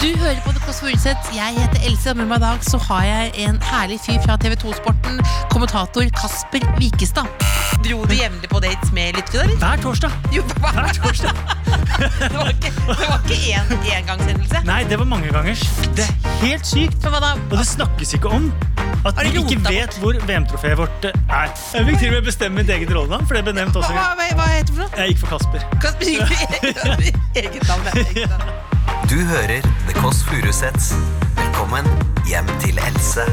Du hører på The Kåss Furuseth. Jeg heter Else, og med meg i dag så har jeg en herlig fyr fra TV 2-sporten. Kommentator Kasper Vikestad. Dro du jevnlig på dates med lyttere, eller? Hver torsdag. Jo, hver torsdag. det var ikke, det var ikke en engangshendelse. Nei, det var mange gangers. Det er helt sykt. Men hva da? Og det snakkes ikke om at Er det vi ikke rota vet hvor VM-trofeet vårt eh, er. Jeg fikk til og med bestemme mitt eget rollenavn, for det ble nevnt også. en Hva, gang. hva, hva heter det for noe? Jeg gikk for Kasper. Kasper Vikestad. Eget navn. det er eget navn. Du hører The Kåss Furuseths. Velkommen hjem til Else.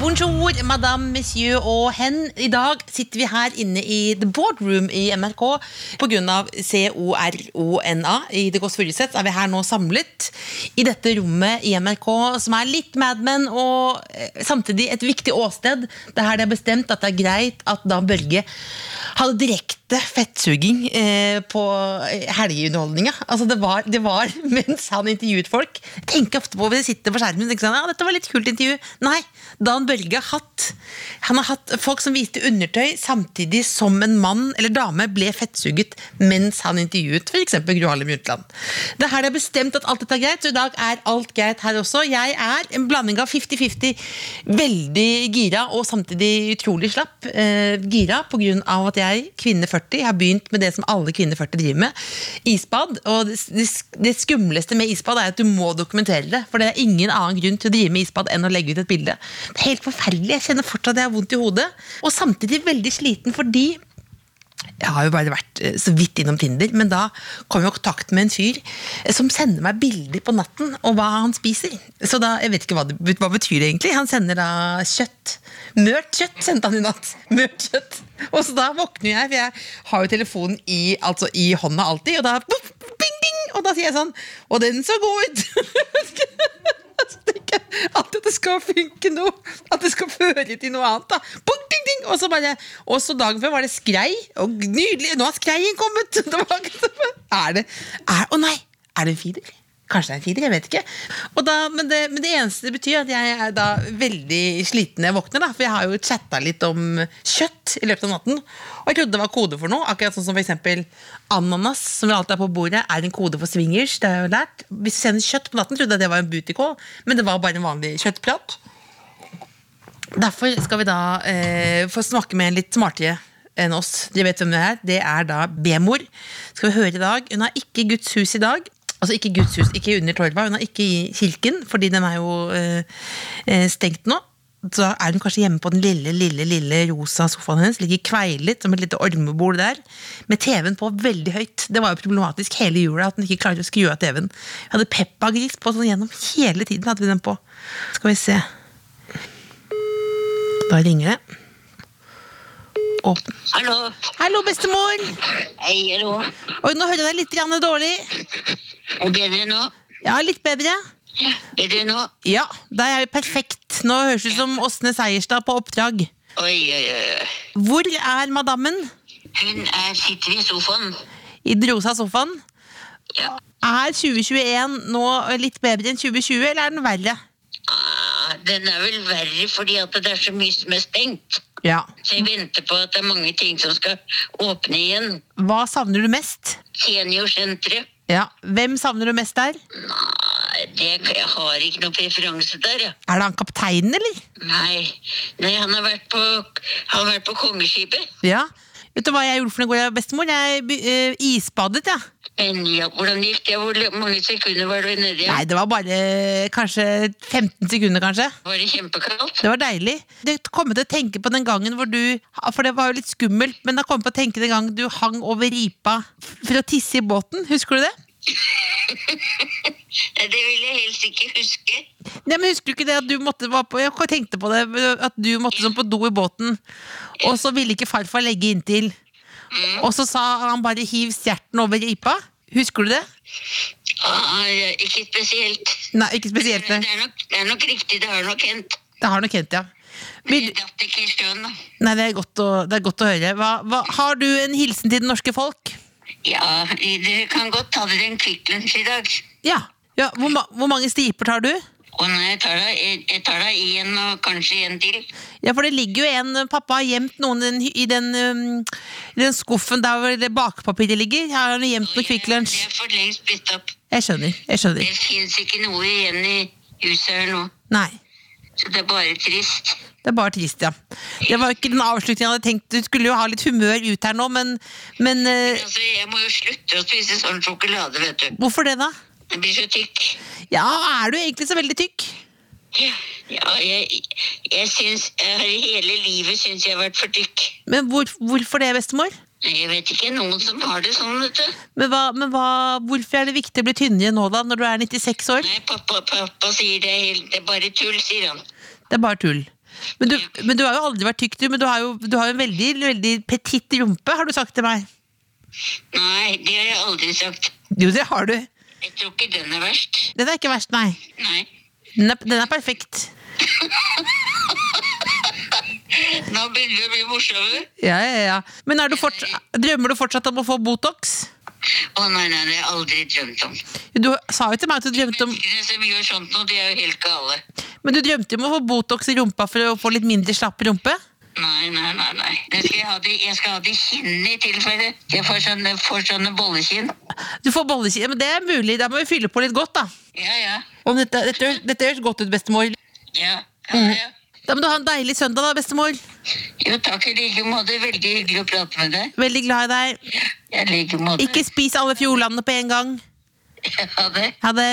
Bonjour, madame, monsieur og hen. I dag sitter vi her inne i The Boardroom i NRK. Pga. CORONA i The Kåss Furuseth er vi her nå samlet i dette rommet i NRK, som er litt Mad Men og eh, samtidig et viktig åsted. Det er her det er bestemt at det er greit at Dan Børge hadde direkte fettsuging eh, på helgeunderholdninga. Altså det, var, det var mens han intervjuet folk. Tenk ofte på hvor de sitter på skjermen. Ikke sant? sånn, Ja, dette var litt kult intervju. Nei, Dan Børge har hatt Han har hatt folk som viste undertøy samtidig som en mann eller dame ble fettsuget mens han intervjuet f.eks. Gro Harlem Brundtland. Det er her det er bestemt at alt dette er greit, så i dag er alt greit her også. Jeg er en blanding av 50-50, veldig gira og samtidig utrolig slapp. Eh, gira på grunn av at jeg, kvinne 40, har begynt med det som alle kvinner 40 driver med, isbad. Og det, det, det skumleste med isbad er at du må dokumentere det, for det er ingen annen grunn til å drive med isbad enn å legge ut et bilde. Det er helt forferdelig. Jeg kjenner fortsatt at jeg har vondt i hodet, og samtidig veldig sliten fordi jeg har jo bare vært eh, så vidt innom Tinder, men da kom jeg i kontakt med en fyr eh, som sender meg bilder på natten og hva han spiser. Så da, jeg vet ikke hva det hva betyr det egentlig. Han sender da kjøtt. Mørt kjøtt sendte han i natt. Mørt kjøtt. Og så da våkner jeg, for jeg har jo telefonen i, altså i hånda alltid, og da puff, bing, bing, og da sier jeg sånn Og den så god ut! Så tenker jeg At det skal funke nå. At det skal føre til noe annet. da Bong, ding, ding. Og så bare Og så dagen før var det skrei. Og nydelig! Nå har skreien kommet! Det var akkurat som- Er det er, Å nei! Er det en feeder? Kanskje det er en feeder, jeg vet ikke. Og da, men, det, men det eneste det betyr, er at jeg er da veldig sliten når jeg våkner. da For jeg har jo chatta litt om kjøtt i løpet av natten. Og jeg trodde det var kode for noe. Akkurat sånn som for eksempel ananas, som alltid er på bordet, er en kode for swingers. Det har jeg jo lært. Hvis du sender kjøtt på natten, trodde jeg det var en bootycall, men det var bare en vanlig kjøttprat. Derfor skal vi da eh, få snakke med en litt smartere enn oss. De vet hvem det er. Det er da B-mor. Skal vi høre i dag. Hun har ikke Guds hus i dag. Altså ikke Guds hus, ikke under torva. Hun er ikke i kirken, fordi den er jo eh, eh, stengt nå. Så er hun kanskje hjemme på den lille, lille, lille rosa sofaen hennes. Ligger kveilet som et lite ormebol der. Med TV-en på veldig høyt. Det var jo problematisk hele jula at hun ikke klarte å skru av TV-en. Vi hadde Peppa Gris på sånn gjennom hele tiden. hadde vi den på. Skal vi se. Da ringer det. Åpne. Hallo. Hallo, bestemor! Hei, hallo. Oi, nå hører jeg deg litt grann dårlig. Er det bedre nå? Ja, litt bedre. Bedre nå? Ja, da er jeg perfekt. Nå høres det ut som Åsne Seierstad på oppdrag. Oi, oi, oi. Hvor er madammen? Hun er, sitter i sofaen. I den rosa sofaen. Ja. Er 2021 nå litt bedre enn 2020, eller er den verre? Ah, den er vel verre fordi at det er så mye som er stengt. Ja. Så jeg venter på at det er mange ting som skal åpne igjen. Hva savner du mest? Seniorsenteret. Ja. Hvem savner du mest der? Nei, det, jeg har ikke noen preferanse der, jeg. Er det han kapteinen, eller? Nei. Nei, han har vært på, han har vært på kongeskipet. Ja. Vet du hva jeg gjorde for noe i går, bestemor? Jeg eh, isbadet, jeg. Ja. Men ja, hvordan gikk det? Hvor mange sekunder var du nedi? Nei, det var bare eh, kanskje 15 sekunder, kanskje. Var det kjempekaldt? Det var deilig. Det kom til å tenke på den gangen hvor du ah, For det var jo litt skummelt, men da kom jeg på å tenke den gangen du hang over ripa for å tisse i båten. Husker du det? Nei, det vil jeg helst ikke huske. Nei, men Husker du ikke det at du måtte var på, Jeg tenkte på det, at du måtte sånn på do i båten, og så ville ikke farfar legge inntil. Og så sa han bare 'hiv stjerten over ripa'. Husker du det? Ah, ja, ikke spesielt. Nei, ikke spesielt. Det Det er, nok, det er nok riktig, det har nok hendt. Det har nok hendt, ja. Men Vil, det datt ikke i sjøen. da. nei, det er godt å, det er godt å høre. Hva, hva, har du en hilsen til det norske folk? Ja, du kan godt ta dere en Kvikk Lunsj i dag. Ja. ja hvor, ma hvor mange striper tar du? Å nei, jeg tar da- jeg jeg tar da en og kanskje en til. Ja, for det ligger jo en eh, Pappa har gjemt noen i den, hy- i den, um, i den skuffen der hvor det bakpapiret ligger. Jeg har gjemt noe Kvikk Lunsj. Det er for lengst brutt opp. Jeg skjønner. jeg Det skjønner. fins ikke noe igjen i huset her nå. Nei. Så det er bare trist. Det er bare trist, ja. Det var ikke den avslutningen jeg hadde tenkt. Du skulle jo ha litt humør ut her nå, men, men eh, Altså, Jeg må jo slutte å spise sånn sjokolade, vet du. Hvorfor det, da? Det blir så tykk. Ja, er du egentlig så veldig tykk? Ja, jeg, jeg syns jeg har Hele livet syns jeg har vært for tykk. Men hvor, hvorfor det, bestemor? Jeg vet ikke noen som har det sånn, vet du. Men, hva, men hva, hvorfor er det viktig å bli tynnere nå, da, når du er 96 år? Nei, pappa, pappa sier det er helt Det er bare tull, sier han. Det er bare tull. Men du, men du har jo aldri vært tykk, du. Men du har jo du har jo en veldig, veldig petit rumpe, har du sagt til meg. Nei, det har jeg aldri sagt. Jo, det har du. Jeg tror ikke den er verst. Den er ikke verst, nei. Nei. Den er, den er perfekt. Nå begynner det å bli morsommere. Ja, ja, ja. Men er du forts- drømmer du fortsatt om å få Botox? Å nei, nei, det har jeg aldri drømt om. Du sa jo til meg at du drømte om Menneskene som gjør sånt nå, de er jo helt gale. Men du drømte jo om å få Botox i rumpa for å få litt mindre slapp rumpe? Nei, nei, nei. nei. Jeg skal ha det, jeg skal ha det i kinnet i tilfelle. Jeg får sånne, får sånne bollekinn. Du får bollekinn, men det er mulig. Da må vi fylle på litt godt, da. Ja, ja. Om dette, dette, dette høres godt ut, bestemor. ja. ja, ja. Da må du ha en deilig søndag, da, bestemor. Jo, takk i like måte. Veldig hyggelig å prate med deg. Veldig glad i deg. Jeg like måte. Ikke spis alle fjordlandene på en gang. Ha det. Ha det.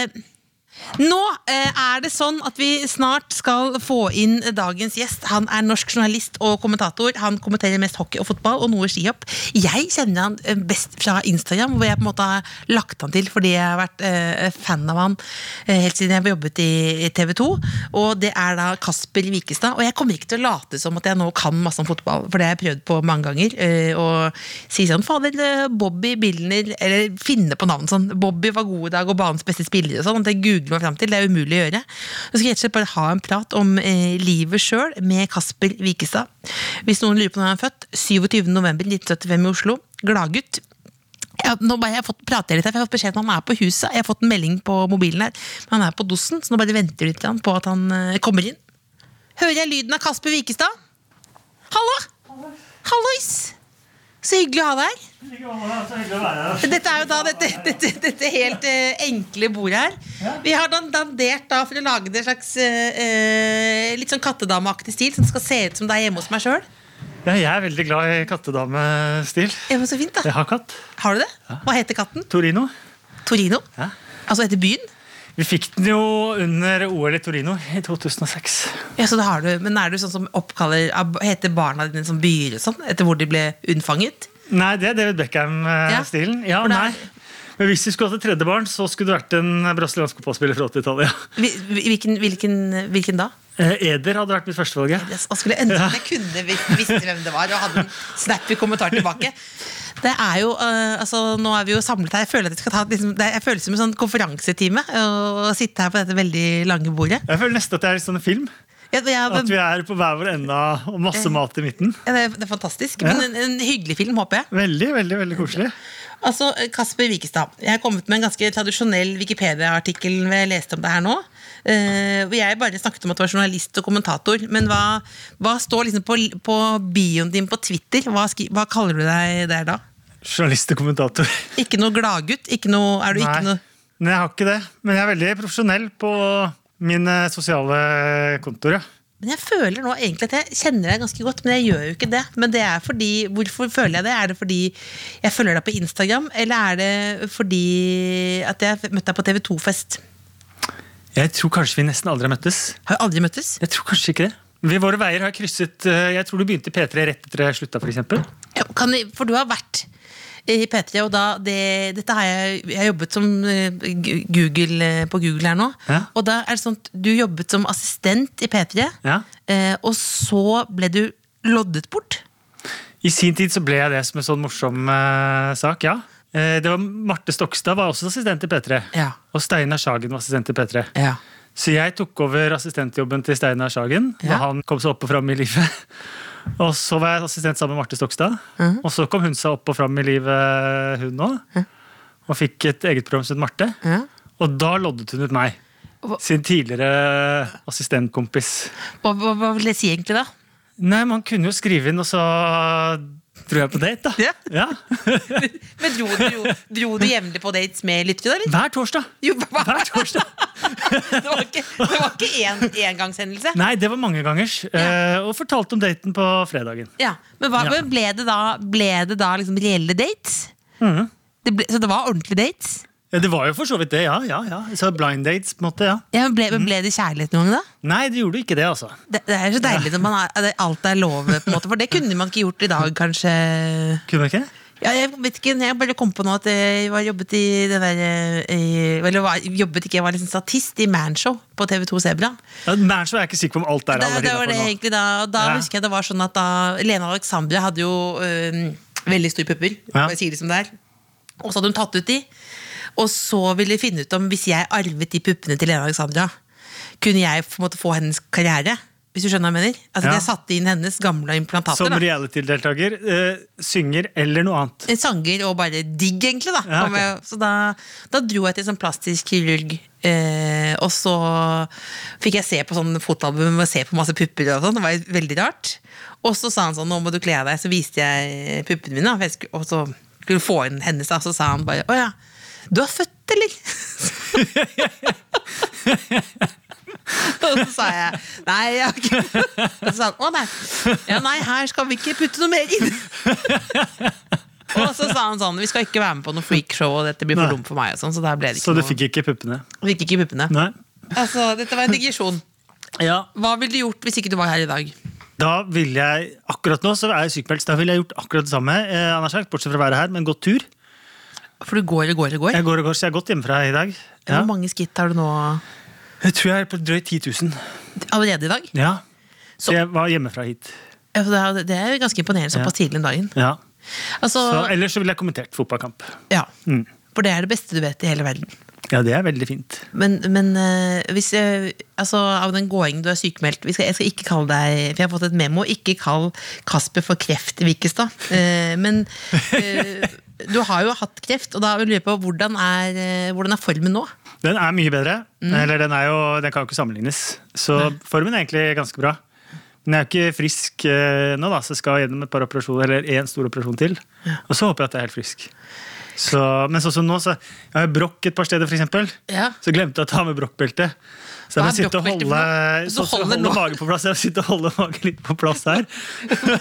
Nå eh, er det sånn at vi snart skal få inn dagens gjest. Han er norsk journalist og kommentator. Han kommenterer mest hockey og fotball og noe skihopp. Jeg kjenner han eh, best fra Instagram, hvor jeg på en måte har lagt han til fordi jeg har vært eh, fan av han eh, helt siden jeg jobbet i i TV 2. Og det er da Kasper Vikestad. Og jeg kommer ikke til å late som at jeg nå kan masse om fotball, for det har jeg prøvd på mange ganger. eh, Og si sånn fader, eh, Bobby Bilner, eller finne på navn sånn. Bobby var god i dag, og banens beste spillere og sånn. Det googler meg fram til. Det er umulig å gjøre. Så skal jeg rett og slett bare ha en prat om eh, livet sjøl med Kasper Vikestad. Hvis noen lurer på når han er født, 27.11.1975 i Oslo. Gladgutt. Ja, nå bare jeg har fått, prater jeg litt her, for jeg har fått beskjed om at han er på huset. Jeg har fått en melding på mobilen her, men han er på dosen, så nå bare venter vi litt på at han eh, kommer inn. Hører jeg lyden av Kasper Vikestad? Hallo! Hallois! Så hyggelig å ha deg her. Dette er jo da dette, dette, dette helt eh, enkle bordet her. Vi har dan- dandert da for å lage det slags eh, eh, litt sånn kattedameaktig stil, som skal se ut som det er hjemme hos meg sjøl. Ja, jeg er veldig glad i kattedamestil. Så fint, Jeg da. har katt. Har du det? Hva heter katten? Torino. Torino? Ja. Altså etter byen? Vi fikk den jo under OL i Torino i 2006. Ja, så det har du, Men er du sånn som oppkaller ab- Heter barna dine som byer og sånn? Etter hvor de ble unnfanget? Nei, det er David Ja. Beckham-stilen. Ja, For det er- nei. Men hvis vi skulle hatt et tredje barn, så skulle det vært en brasiliansk fotballspiller fra 80-tallet. ja. Hvil- Hvilken, hvilken, hvilken da? Eh, Eder hadde vært mitt førstevalg. ja. Jeg skulle ønske at jeg kunne vi- visste hvem det var, og hadde en snappy kommentar tilbake. Det er jo, eh, altså, nå er vi jo samlet her. Jeg føler at jeg skal ta, liksom, det, jeg føler det som en sånn konferansetime eh, å sitte her på dette veldig lange bordet. Jeg føler nesten at det er litt sånn en film. Ja, det, er- At vi er på hver vår ende og masse mat i midten. ja, det, er, det er fantastisk. Men en, en hyggelig film, håper jeg. Veldig, veldig veldig koselig. Altså, Kasper Wikestad, jeg har kommet med en ganske tradisjonell Wikipedia-artikkel hvor jeg leste om det her nå. Eh, hvor jeg bare snakket om at du var journalist og kommentator. Men hva, hva står liksom på, på bioen din på Twitter? Hva, skri, hva kaller du deg der da? Journalist og kommentator. Ikke noe gladgutt? Ikke noe, er du ikke Nei. noe Nei, jeg har ikke det. Men jeg er veldig profesjonell på mine sosiale kontoer. ja. Men jeg føler nå egentlig at jeg kjenner deg ganske godt, men jeg gjør jo ikke det. Men det er fordi, Hvorfor føler jeg det? Er det fordi jeg følger deg på Instagram, eller er det fordi at jeg møtte deg på TV 2-fest? Jeg tror kanskje vi nesten aldri har møttes. Har jo aldri møttes. Jeg tror kanskje ikke det. Vi våre veier har krysset eh, Jeg tror du begynte i P3 rett etter jeg slutta, f.eks. Ja, Kan, vi- for du har vært i P3, og da det, Dette har jeg Jeg har jobbet som eh, Gu- Google, eh, på Google her nå. Ja. Og da er det sånn at du jobbet som assistent i P3, Ja. eh, og så ble du loddet bort. I sin tid så ble jeg det som en sånn morsom eh, sak, ja. Eh, det var Marte Stokstad var også assistent i P3. Ja. Og Steinar Sagen var assistent i P3. Så jeg tok over assistentjobben til Steinar Sagen da Ja. han kom seg opp og fram i livet. Og så var jeg assistent sammen med Marte Stokstad. Mhm. Og så kom hun seg opp og fram i livet, hun òg. Og fikk et eget program som het Marte. Ja. Og da loddet hun ut meg. Hva- Sin tidligere assistentkompis. Hva, hva, hva vil jeg si egentlig, da? Nei, man kunne jo skrive inn, og så dro jeg på date, da. Ja. Ja. Men Dro, dro, dro du jevnlig på dates med lyttere, da? eller? Hver torsdag. Jo, hva? Hver torsdag. Det var ikke, det var ikke en engangshendelse? Nei, det var mange gangers. Eh, Og fortalte om daten på fredagen. Ja, Men hva, Ja. men ble det da, ble det da liksom reelle dates? Det ble, så det var ordentlige dates? Ja, Det var jo for så vidt det, ja. ja, ja. Så blind dates, på en måte. ja. Ja, men ble, men ble det kjærlighet noen gang, da? Nei, det gjorde ikke det, altså. Det, det er så deilig når man er, at alt er lov, på en måte, for det kunne man ikke gjort i dag, kanskje. Kunne ikke? Ja, jeg vet ikke, jeg bare kom på nå at jeg var jobbet i det der eh, i- Eller var, jobbet ikke, jeg var liksom statist i Manshow på TV2 Sebra. Ja, men så er jeg ikke sikker på om alt er Det, det allerede var det for nå. egentlig da, og da Ja. husker jeg det var sånn at da Lena Alexandra hadde jo øhm, veldig store pupper, Ja. jeg sier det som det er. Og så hadde hun tatt ut de. Og så ville de finne ut om hvis jeg arvet de puppene til Lena Alexandra, kunne jeg på en måte få hennes karriere? Hvis du skjønner hva jeg mener? Altså Ja. Jeg satte inn hennes gamle implantater. Som da. reality-deltaker. eh, synger eller noe annet. En sanger og bare digg, egentlig. Da. Ja, ok. Om jeg- Så da, da dro jeg til sånn plastisk kirurg. Eh, og så fikk jeg se på sånn fotoalbum og se på masse pupper. og sånn, Det var jo veldig rart. Og så sa han sånn, nå må du kle av deg. Så viste jeg puppene mine, da, for jeg skulle, og så skulle få inn hennes. Da, så sa han bare å ja, du har født, eller? Og så sa jeg nei, jeg har ikke Og så sa han å nei, ja, nei her skal vi ikke putte noe mer inn. Og så sa han sånn, vi skal ikke være med på noe freakshow, og dette blir for Nei. dumt for meg. Og sånn, så der ble det ikke Så du noe. fikk ikke puppene? Fikk ikke puppene. Nei. Altså, dette var en digresjon. Ja. Hva ville du gjort hvis ikke du var her i dag? Da ville jeg, akkurat nå så er jeg sykemeldt, så da ville jeg gjort akkurat det samme. Eh, Anders sagt, bortsett fra å være her, men gått tur. For du går og går og går. Jeg går og går, så jeg har gått hjemmefra i dag. Ja. Hvor mange skritt har du nå Jeg tror jeg er på drøyt 10 000. allerede i dag? Ja. Så- Så jeg var hjemmefra hit. Ja, for Det er- det er jo ganske imponerende såpass tidlig om dagen. Ja. Altså, Så, ellers så ville jeg kommentert fotballkamp. ja. Mm. For det er det beste du vet i hele verden. Ja, det er veldig fint. Men, men eh, hvis eh, altså, av den gåingen du er sykemeldt vi skal, Jeg skal ikke kalle deg For jeg har fått et memo. Ikke kall Kasper for kreft, Vikestad. Eh, men eh, du har jo hatt kreft, og da vil jeg lure på hvordan er, eh, hvordan er formen nå? Den er mye bedre. Mm. Eller den, er jo, den kan jo ikke sammenlignes. Så formen er egentlig ganske bra. Men jeg er jo ikke frisk eh, nå, da, så jeg skal gjennom et par operasjoner, eller én stor operasjon til. Og så håper jeg at jeg er helt frisk. Så, men sånn som nå, så jeg har jo brokk et par steder, f.eks. Ja. Så glemte jeg å ta med brokkbelte. Så jeg Hva må er sitte og brokkbelte for holde, noe? så Så skal jeg holder holde nå. magen på plass. Jeg må sitte og holde magen litt på plass her.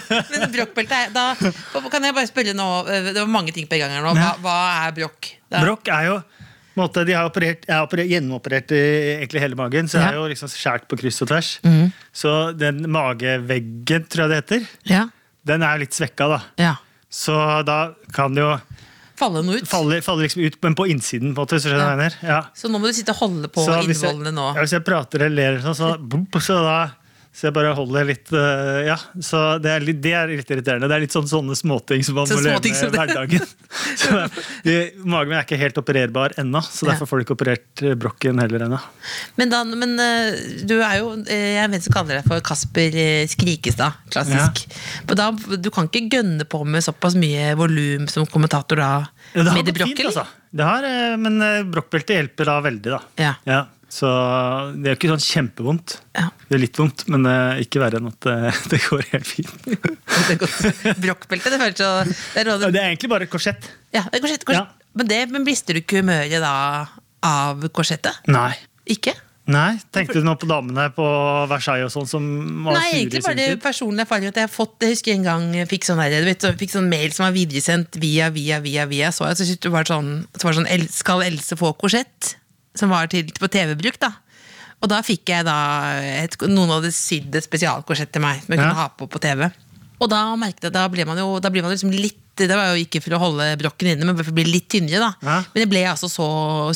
Men brokkbelte er da, Kan jeg bare spørre nå eh, Det var mange ting på en gang her nå. Hva, hva er brokk? Det er- Brokk er jo på en måte, de har operert, Jeg har operert, gjenoperert eh, egentlig hele magen, så jeg Ja. er jo liksom skjært på kryss og tvers. Så den mageveggen, tror jeg det heter, Ja. den er jo litt svekka, da. ja. Så da kan det jo Falle noe ut. falle, falle liksom ut, men på innsiden, på en måte. Så skjønner du hva jeg mener? Ja. Så nå må du sitte og holde på Så hvis jeg, innvollene nå. ja, hvis jeg prater eller ler, eller sånn, så, bump, så da så jeg bare holder litt eh, Ja, så det er litt, det er litt irriterende. Det er litt sånn, sånne småting som man Så må leve småting med i som det- hverdagen. Så det- de- magen min er ikke helt opererbar ennå, så Ja. derfor får du ikke operert eh, brokken heller ennå. Men, da, men eh, du er jo eh, Jeg er en som kaller deg for Kasper eh, Skrikestad. Klassisk. Men da, du kan ikke gønne på med såpass mye volum som kommentator da? Ja, det har med det gått fint, brokket, eller? altså. Det har, eh, men eh, brokkbeltet hjelper da veldig, da. Ja. så det er jo ikke sånn kjempevondt. Ja. Det er litt vondt, men eh, ikke verre enn at eh, det går helt fint. Det er godt. Brokkbelte, det føles så det er, Ja, noe- det er egentlig bare et korsett. ja, det er korsett, korsett. Ja. Men, det, men brister du ikke humøret da av korsettet? Nei. Ikke? Nei, Tenkte du nå på damene på Versailles og sånn som var Nei, egentlig sure i sin bare tid? personlig erfaring at jeg har fått Jeg husker en gang jeg fikk sånn, der, du vet, så jeg fikk sånn mail som var videresendt via, via, via, via så jeg, så syntes det var sånn, så var det sånn El- Skal Else få korsett? Som var til, på TV-bruk, da. Og da fikk jeg da et, Noen hadde sydd et spesialkorsett til meg som jeg Ja. kunne ha på på TV. Og da merket jeg, da blir man jo, da blir man liksom litt Det var jo ikke for å holde brokken inne, men for å bli litt tynnere, da. Ja. Men jeg ble altså så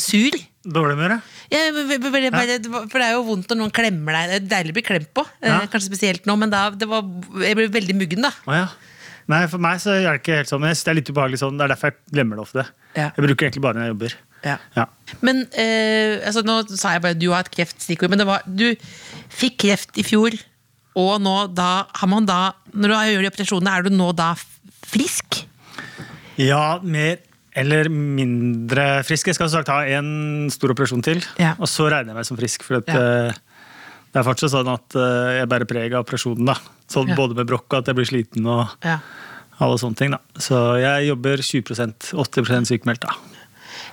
sur. Dårlig humør, ja. Ja, men- men- men- men- bare- det var- for det er jo vondt når noen klemmer deg. Det er deilig å bli klemt på. eh, Ja. Kanskje spesielt nå, men da det var, jeg ble veldig muggen, da. Å, ja. Nei, for meg så er det ikke helt sånn. Men jeg synes det er litt ubehagelig sånn. Det er derfor jeg glemmer det ofte. Ja. Jeg bruker det egentlig bare når jeg jobber. Ja. Ja. Men eh, altså, nå sa jeg bare du har et kreftstikkord, men det var, du fikk kreft i fjor. Og nå da, har man da, når du gjør de operasjonene, er du nå da f- frisk? Ja, mer eller mindre frisk. Jeg skal som sagt ha en stor operasjon til, Ja. og så regner jeg meg som frisk. For at, Ja. eh, det er fortsatt sånn at eh, jeg bærer preg av operasjonen. da. Så Ja. Både med brokk og at jeg blir sliten og Ja. alle sånne ting. da. Så jeg jobber 20 80 sykemeldt. da.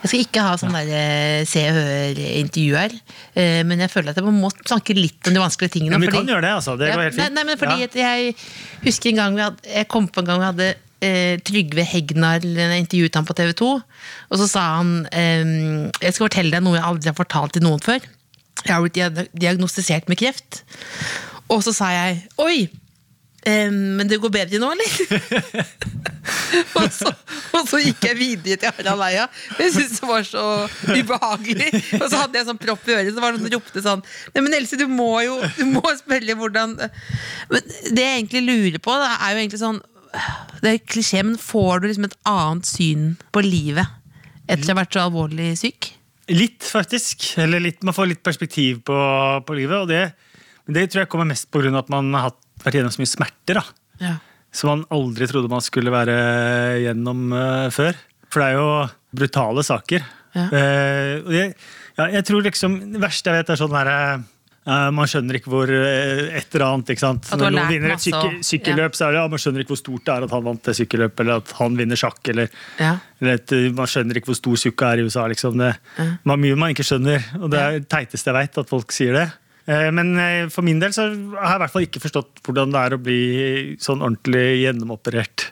Jeg skal ikke ha sånn der eh, se og hør-intervju her, eh, men jeg føler at jeg må snakke litt om de vanskelige tingene. Men vi fordi- kan gjøre det, altså. Det Ja, går helt fint. Nei, nei, men fordi Ja. at jeg husker en gang vi hadde, Jeg kom på en gang vi hadde eh, Trygve Hegnar Jeg intervjuet han på TV 2 Og så sa han ehm, Jeg skal fortelle deg noe jeg aldri har fortalt til noen før Jeg har blitt dia- diagnostisert med kreft Og så sa jeg Oi, ehm, men det går bedre nå, eller? og, så, og så gikk jeg videre til Harald Eia. men Jeg syntes det var så ubehagelig. Og så hadde jeg sånn propp i øret, så var det noen som ropte sånn Nei, men Else, du må jo du må spørre hvordan Men det jeg egentlig lurer på, da, er jo egentlig sånn Det er klisjé, men får du liksom et annet syn på livet etter å ha vært så alvorlig syk? Litt, faktisk. Eller litt, Man får litt perspektiv på, på livet. og det, men det tror jeg kommer mest pga. at man har hatt, vært gjennom så mye smerter. da. Ja. som man aldri trodde man skulle være gjennom eh, før. For det er jo brutale saker. Ja. Eh, og jeg, ja, jeg tror liksom Det verste jeg vet, er sånn derre eh, man skjønner ikke hvor eh, et eller annet ikke sant? At du har Når noen lært vinner et masse sykke, og- sykkelløp, så er det ja, man skjønner ikke hvor stort det er at han vant det sykkelløpet, eller at han vinner sjakk, eller, Ja. eller at eh, man skjønner ikke hvor stor sukka er i USA. Liksom. Det det er mye man ikke skjønner, og det er det teiteste jeg veit, at folk sier det. Eh, Men eh, for min del så har jeg i hvert fall ikke forstått hvordan det er å bli sånn ordentlig gjennomoperert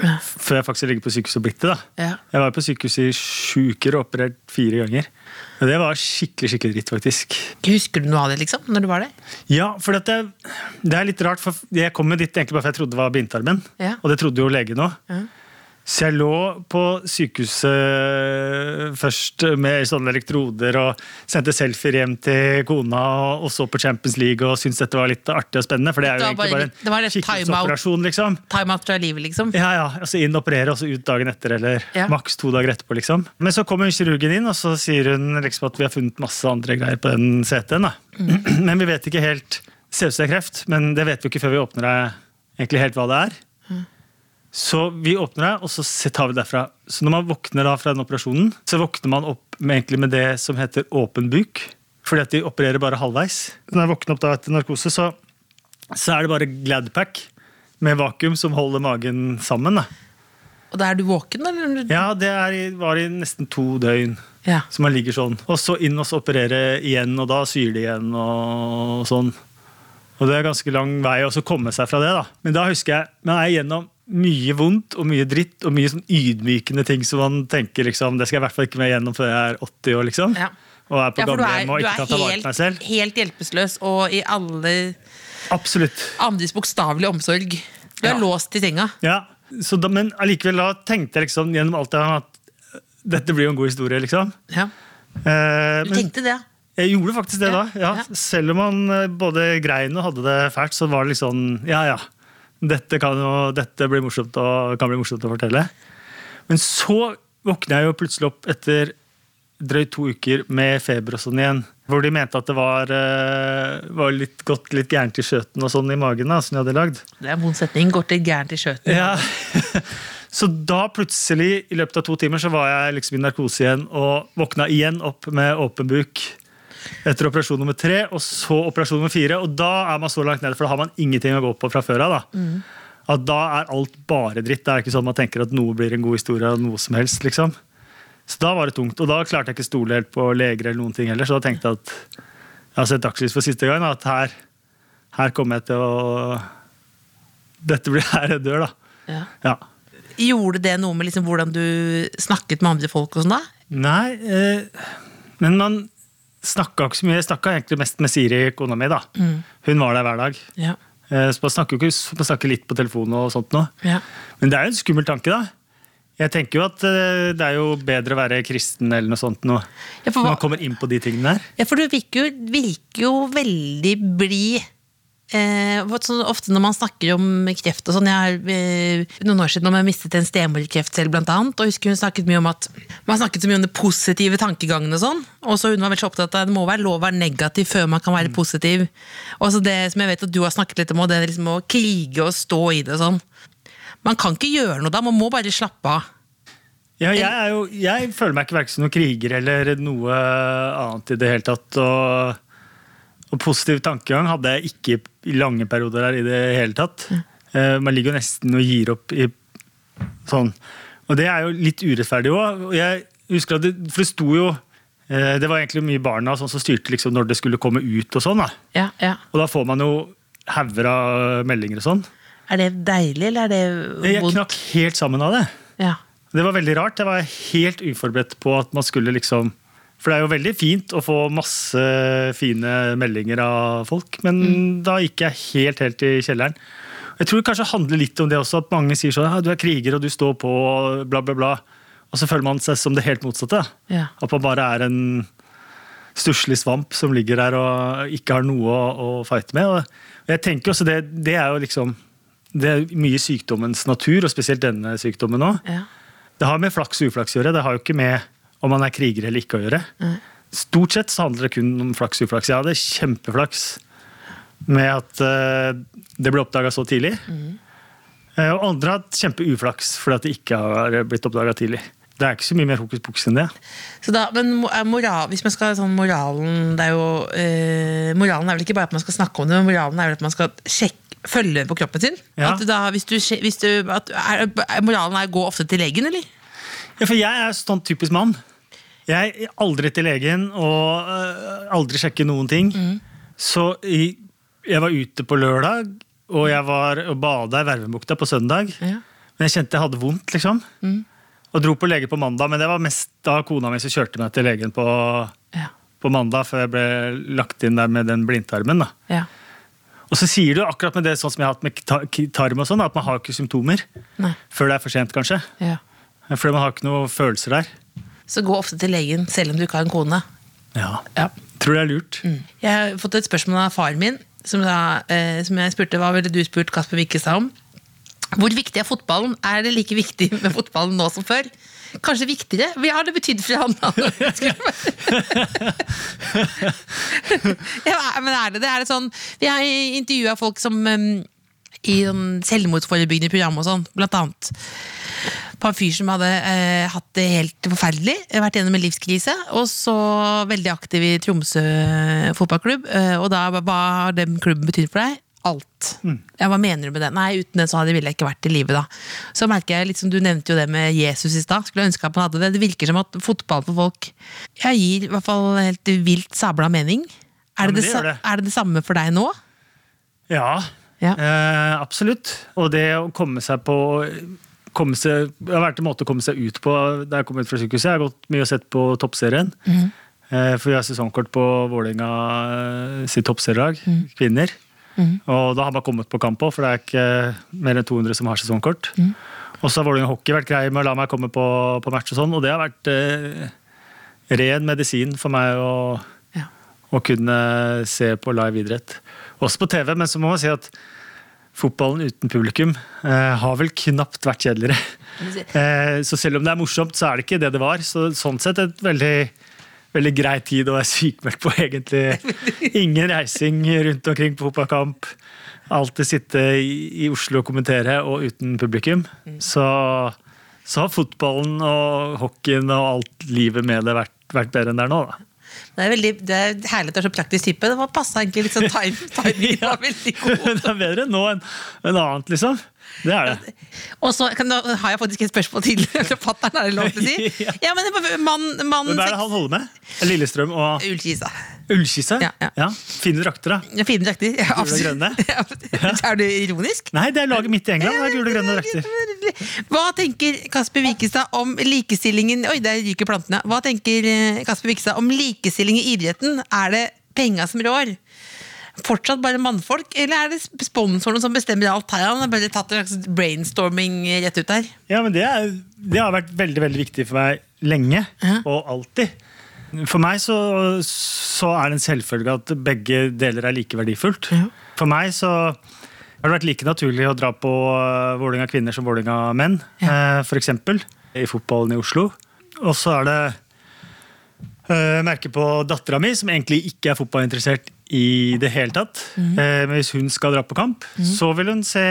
før jeg faktisk ligger på sykehus og blitt det. da. Ja. Jeg var på sykehus i sju uker og operert fire ganger. Og det var skikkelig skikkelig dritt, faktisk. Husker du noe av det, liksom? Når du var der? Ja, for at jeg, det er litt rart, for jeg kom jo dit egentlig bare for jeg trodde det var blindtarmen. Ja. Og det trodde jo legen òg. Så jeg lå på sykehuset først med sånne elektroder og sendte selfier hjem til kona og, og så på Champions League og syntes dette var litt artig og spennende. For det er jo Det var egentlig bare bare, litt- det var en litt kikkhusoperasjon, liksom. Time out fra livet, liksom? Ja, ja, altså Inn og operere, og så ut dagen etter, eller Ja. maks to dager etterpå. liksom. Men så kommer kirurgen inn, og så sier hun liksom at vi har funnet masse andre greier på den CT-en. da. Men vi vet ikke helt Det ser ut som det er kreft, men det vet vi ikke før vi åpner deg egentlig helt hva det er. Så vi åpner deg, og så se- tar vi derfra. Så når man våkner da fra den operasjonen, så våkner man opp med, egentlig med det som heter åpen buk. Fordi at de opererer bare halvveis. Når jeg våkner opp da etter narkose, så, så er det bare Gladpack med vakuum som holder magen sammen. Da. Og da er du våken, eller? Ja, det er, i- var i nesten to døgn. Ja. Så man ligger sånn. Og så inn og så operere igjen, og da syr det igjen og sånn. Og det er ganske lang vei å så komme seg fra det, da. Men da husker jeg, man er igjennom mye vondt og mye dritt og mye sånn ydmykende ting som man tenker liksom, det skal jeg i hvert fall ikke med igjennom før jeg er 80 år, liksom. Ja. Og er på Ja, for du er, gamlehjem og du ikke er kan ta vare helt, på meg selv. helt hjelpeløs og i alle Absolutt. andres bokstavelige omsorg. Du er Ja. låst i senga. Ja, så da, Men allikevel, da tenkte jeg liksom gjennom alt det her at dette blir jo en god historie, liksom. Ja. Eh, Du men- tenkte det? Jeg gjorde faktisk det Ja, da. Ja. ja. Selv om man eh, både grein og hadde det fælt, så var det litt sånn Ja, ja. Dette, kan jo, dette blir morsomt og, kan bli morsomt å fortelle. Men så våkna jeg jo plutselig opp etter drøyt to uker med feber og sånn igjen. Hvor de mente at det var, eh, var litt godt litt gærent i skjøten og sånn i magen. da, som jeg hadde lagd. Det er en vond setning. Går til gærent i skjøten. Ja. Så da plutselig, i løpet av to timer, så var jeg liksom i narkose igjen og våkna igjen opp med åpen buk etter operasjon nummer tre, og så operasjon nummer fire. Og da er man så langt nede, for da har man ingenting å gå på fra før av. da. At da er alt bare dritt. Det er ikke sånn man tenker at noe blir en god historie av noe som helst. liksom. Så da var det tungt. Og da klarte jeg ikke stole helt på leger eller noen ting heller, så da tenkte jeg at jeg har sett dagslys for siste gang, da, at her, her kommer jeg til å Dette blir her jeg dør, da. Ja. Ja. Gjorde det noe med liksom hvordan du snakket med andre folk? og sånn da? Nei, eh, men man snakka ikke så mye. Jeg snakka egentlig mest med Siri, kona mi. da. Mm. Hun var der hver dag. Ja. Eh, så man snakker, jo ikke, så man snakker litt på telefon og sånt nå. Ja. Men det er jo en skummel tanke, da. Jeg tenker jo at eh, det er jo bedre å være kristen eller noe sånt nå. Ja, for Når hva- man kommer inn på de tingene der. Ja, for du virker jo, virker jo veldig blid Eh, for sånn, ofte når man snakker om kreft og sånn Jeg har eh, noen år siden om jeg mistet en stemorkreft selv, blant annet. Og jeg husker hun snakket mye om at man snakket så mye om det positive tankegangen og sånn. Og så hun var veldig så opptatt av at det må være lov å være negativ før man kan være positiv. Og så det som jeg vet at du har snakket litt om, og det er liksom å krige og stå i det og sånn. Man kan ikke gjøre noe da, man må bare slappe av. Ja, jeg, er jo, jeg føler meg ikke hverken som noen kriger eller noe annet i det hele tatt. Og, og positiv tankegang hadde jeg ikke i lange perioder her i det hele tatt. Eh, Man ligger jo nesten og gir opp i sånn. Og det er jo litt urettferdig òg. Jeg husker at det, for det sto jo eh, Det var egentlig mye barna sånn, som styrte liksom når det skulle komme ut og sånn. da. Ja, ja. Og da får man jo hauger av meldinger og sånn. Er det deilig, eller er det Jeg knakk helt sammen av det. Ja. Det var veldig rart. Jeg var helt uforberedt på at man skulle liksom For det er jo veldig fint å få masse fine meldinger av folk, men da gikk jeg helt, helt i kjelleren. Jeg tror det kanskje handler litt om det også, at mange sier sånn «Ja, du er kriger og du står på, og bla, bla, bla. Og så føler man seg som det helt motsatte. Ja. At man bare er en stusslig svamp som ligger der og ikke har noe å, å fighte med. Og jeg tenker også det, det er jo liksom Det er mye i sykdommens natur, og spesielt denne sykdommen nå. Ja. Det har med flaks og uflaks å gjøre. Det har jo ikke med om man er kriger eller ikke å gjøre. Stort sett så handler det kun om flaks og uflaks. Jeg hadde kjempeflaks med at eh, det ble oppdaga så tidlig. Eh, og andre har hatt kjempeuflaks fordi at det ikke har blitt oppdaga tidlig. Det er ikke så mye mer hokus pokus enn det. Så da, men mo- er moral, hvis man skal sånn moralen det er jo, eh, Moralen er vel ikke bare at man skal snakke om det, men moralen er vel at man skal sjekke, følge på kroppen sin? Ja. At du da, hvis du, sje- hvis du, at, er, er moralen er å gå ofte til legen, eller? Ja, for jeg er sånn typisk mann. Jeg er aldri til legen og øh, aldri sjekker noen ting. Mm. Så i, jeg var ute på lørdag, og jeg var og bada i Vervebukta på søndag. Ja. Mm. Men jeg kjente jeg hadde vondt, liksom. Og dro på lege på mandag, men det var mest da kona mi som kjørte meg til legen på, Ja. på mandag, før jeg ble lagt inn der med den blindtarmen. da. Ja. Og så sier du akkurat med det sånn som jeg har hatt med ta- tarm og sånn, at man har ikke symptomer Nei. før det er for sent, kanskje. ja. Fordi man har ikke noen følelser der. Så gå ofte til legen, selv om du ikke har en kone. Ja. Ja. Tror det er lurt. Jeg har fått et spørsmål av faren min, som, da, eh, som jeg spurte hva ville du spurt Kasper Wikkestad om. Hvor viktig er fotballen? Er det like viktig med fotballen nå som før? Kanskje viktigere? Hva har det betydd for han? ja, men er det det? Er det sånn, vi har intervjua folk som em, i sånn selvmordsforebyggende program og sånn, blant annet på en fyr som hadde eh, hatt det helt forferdelig, eh, vært gjennom en livskrise, og så veldig aktiv i Tromsø fotballklubb. Eh, og da, hva har den klubben betydd for deg? Alt. Mm. Ja, hva mener du med det? Nei, uten den så hadde ville jeg ikke vært i livet da. Så merker jeg, liksom, du nevnte jo det med Jesus i stad, skulle ønske at man hadde det. Det virker som at fotball for folk ja, gir i hvert fall helt vilt sabla mening. Ja, Er det, men det det, gjør sa- det. er det det samme for deg nå? Ja, Ja. Eh, absolutt. Og det å komme seg på komme seg, Det har vært en måte å komme seg ut på da jeg kom ut fra sykehuset. Jeg har gått mye og sett på Toppserien. Eh, for vi har sesongkort på Vålerenga eh, sitt toppserielag, kvinner. Og da har man kommet på kamp òg, for det er ikke mer enn 200 som har sesongkort. Og så har Vålerenga hockey vært grei med å la meg komme på, på match og sånn, og det har vært eh, ren medisin for meg å Ja. å kunne se på live idrett. Også på TV, men så må man si at fotballen uten publikum eh, har vel knapt vært kjedeligere. Eh, så selv om det er morsomt, så er det ikke det det var. Så sånn sett et veldig, veldig grei tid å være sykmeldt på, egentlig. Ingen reising rundt omkring på fotballkamp. Alltid sitte i, i Oslo og kommentere, og uten publikum. Så, så har fotballen og hockeyen og alt livet med det vært, vært bedre enn det er nå, da. Det er, veldig, det er herlig at du er så praktisk type. Det var passa egentlig litt sånn time, timingen var veldig god. det er bedre nå enn enn annet, liksom. Det er det. Og så kan, da har jeg faktisk et spørgsmål til forfatteren, er det lov til å si? Ja. Ja, men det var mann, mann Hvem er det han holder med? Lillestrøm og Ullkisa. Ullkisse? Ja, ja. Fine drakter, da. Ja, Fine drakter. Ja, absolutt. grønne? Ja, er du ironisk? Nei, det er laget mitt i England. Det er gule og grønne drakter. Hva tenker Kasper Wikestad om likestillingen Oi, der ryker plantene. Hva tenker eh, Kasper Wikestad om likestilling i idretten? Er det penga som rår? Fortsatt bare mannfolk, eller er det sponsorene som bestemmer alt her? Han har bare tatt en slags brainstorming eh, rett ut der. Ja, men det, er, det har vært veldig veldig viktig for meg lenge, Ja. og alltid. For meg så, så er det en selvfølge at begge deler er like verdifullt. For meg så har det vært like naturlig å dra på eh, Vålerenga kvinner som Vålerenga menn, eh, for eksempel, I fotballen i Oslo. Og så er det eh, merke på dattera mi, som egentlig ikke er fotballinteressert i det hele tatt. Eh, Men hvis hun skal dra på kamp, så vil hun se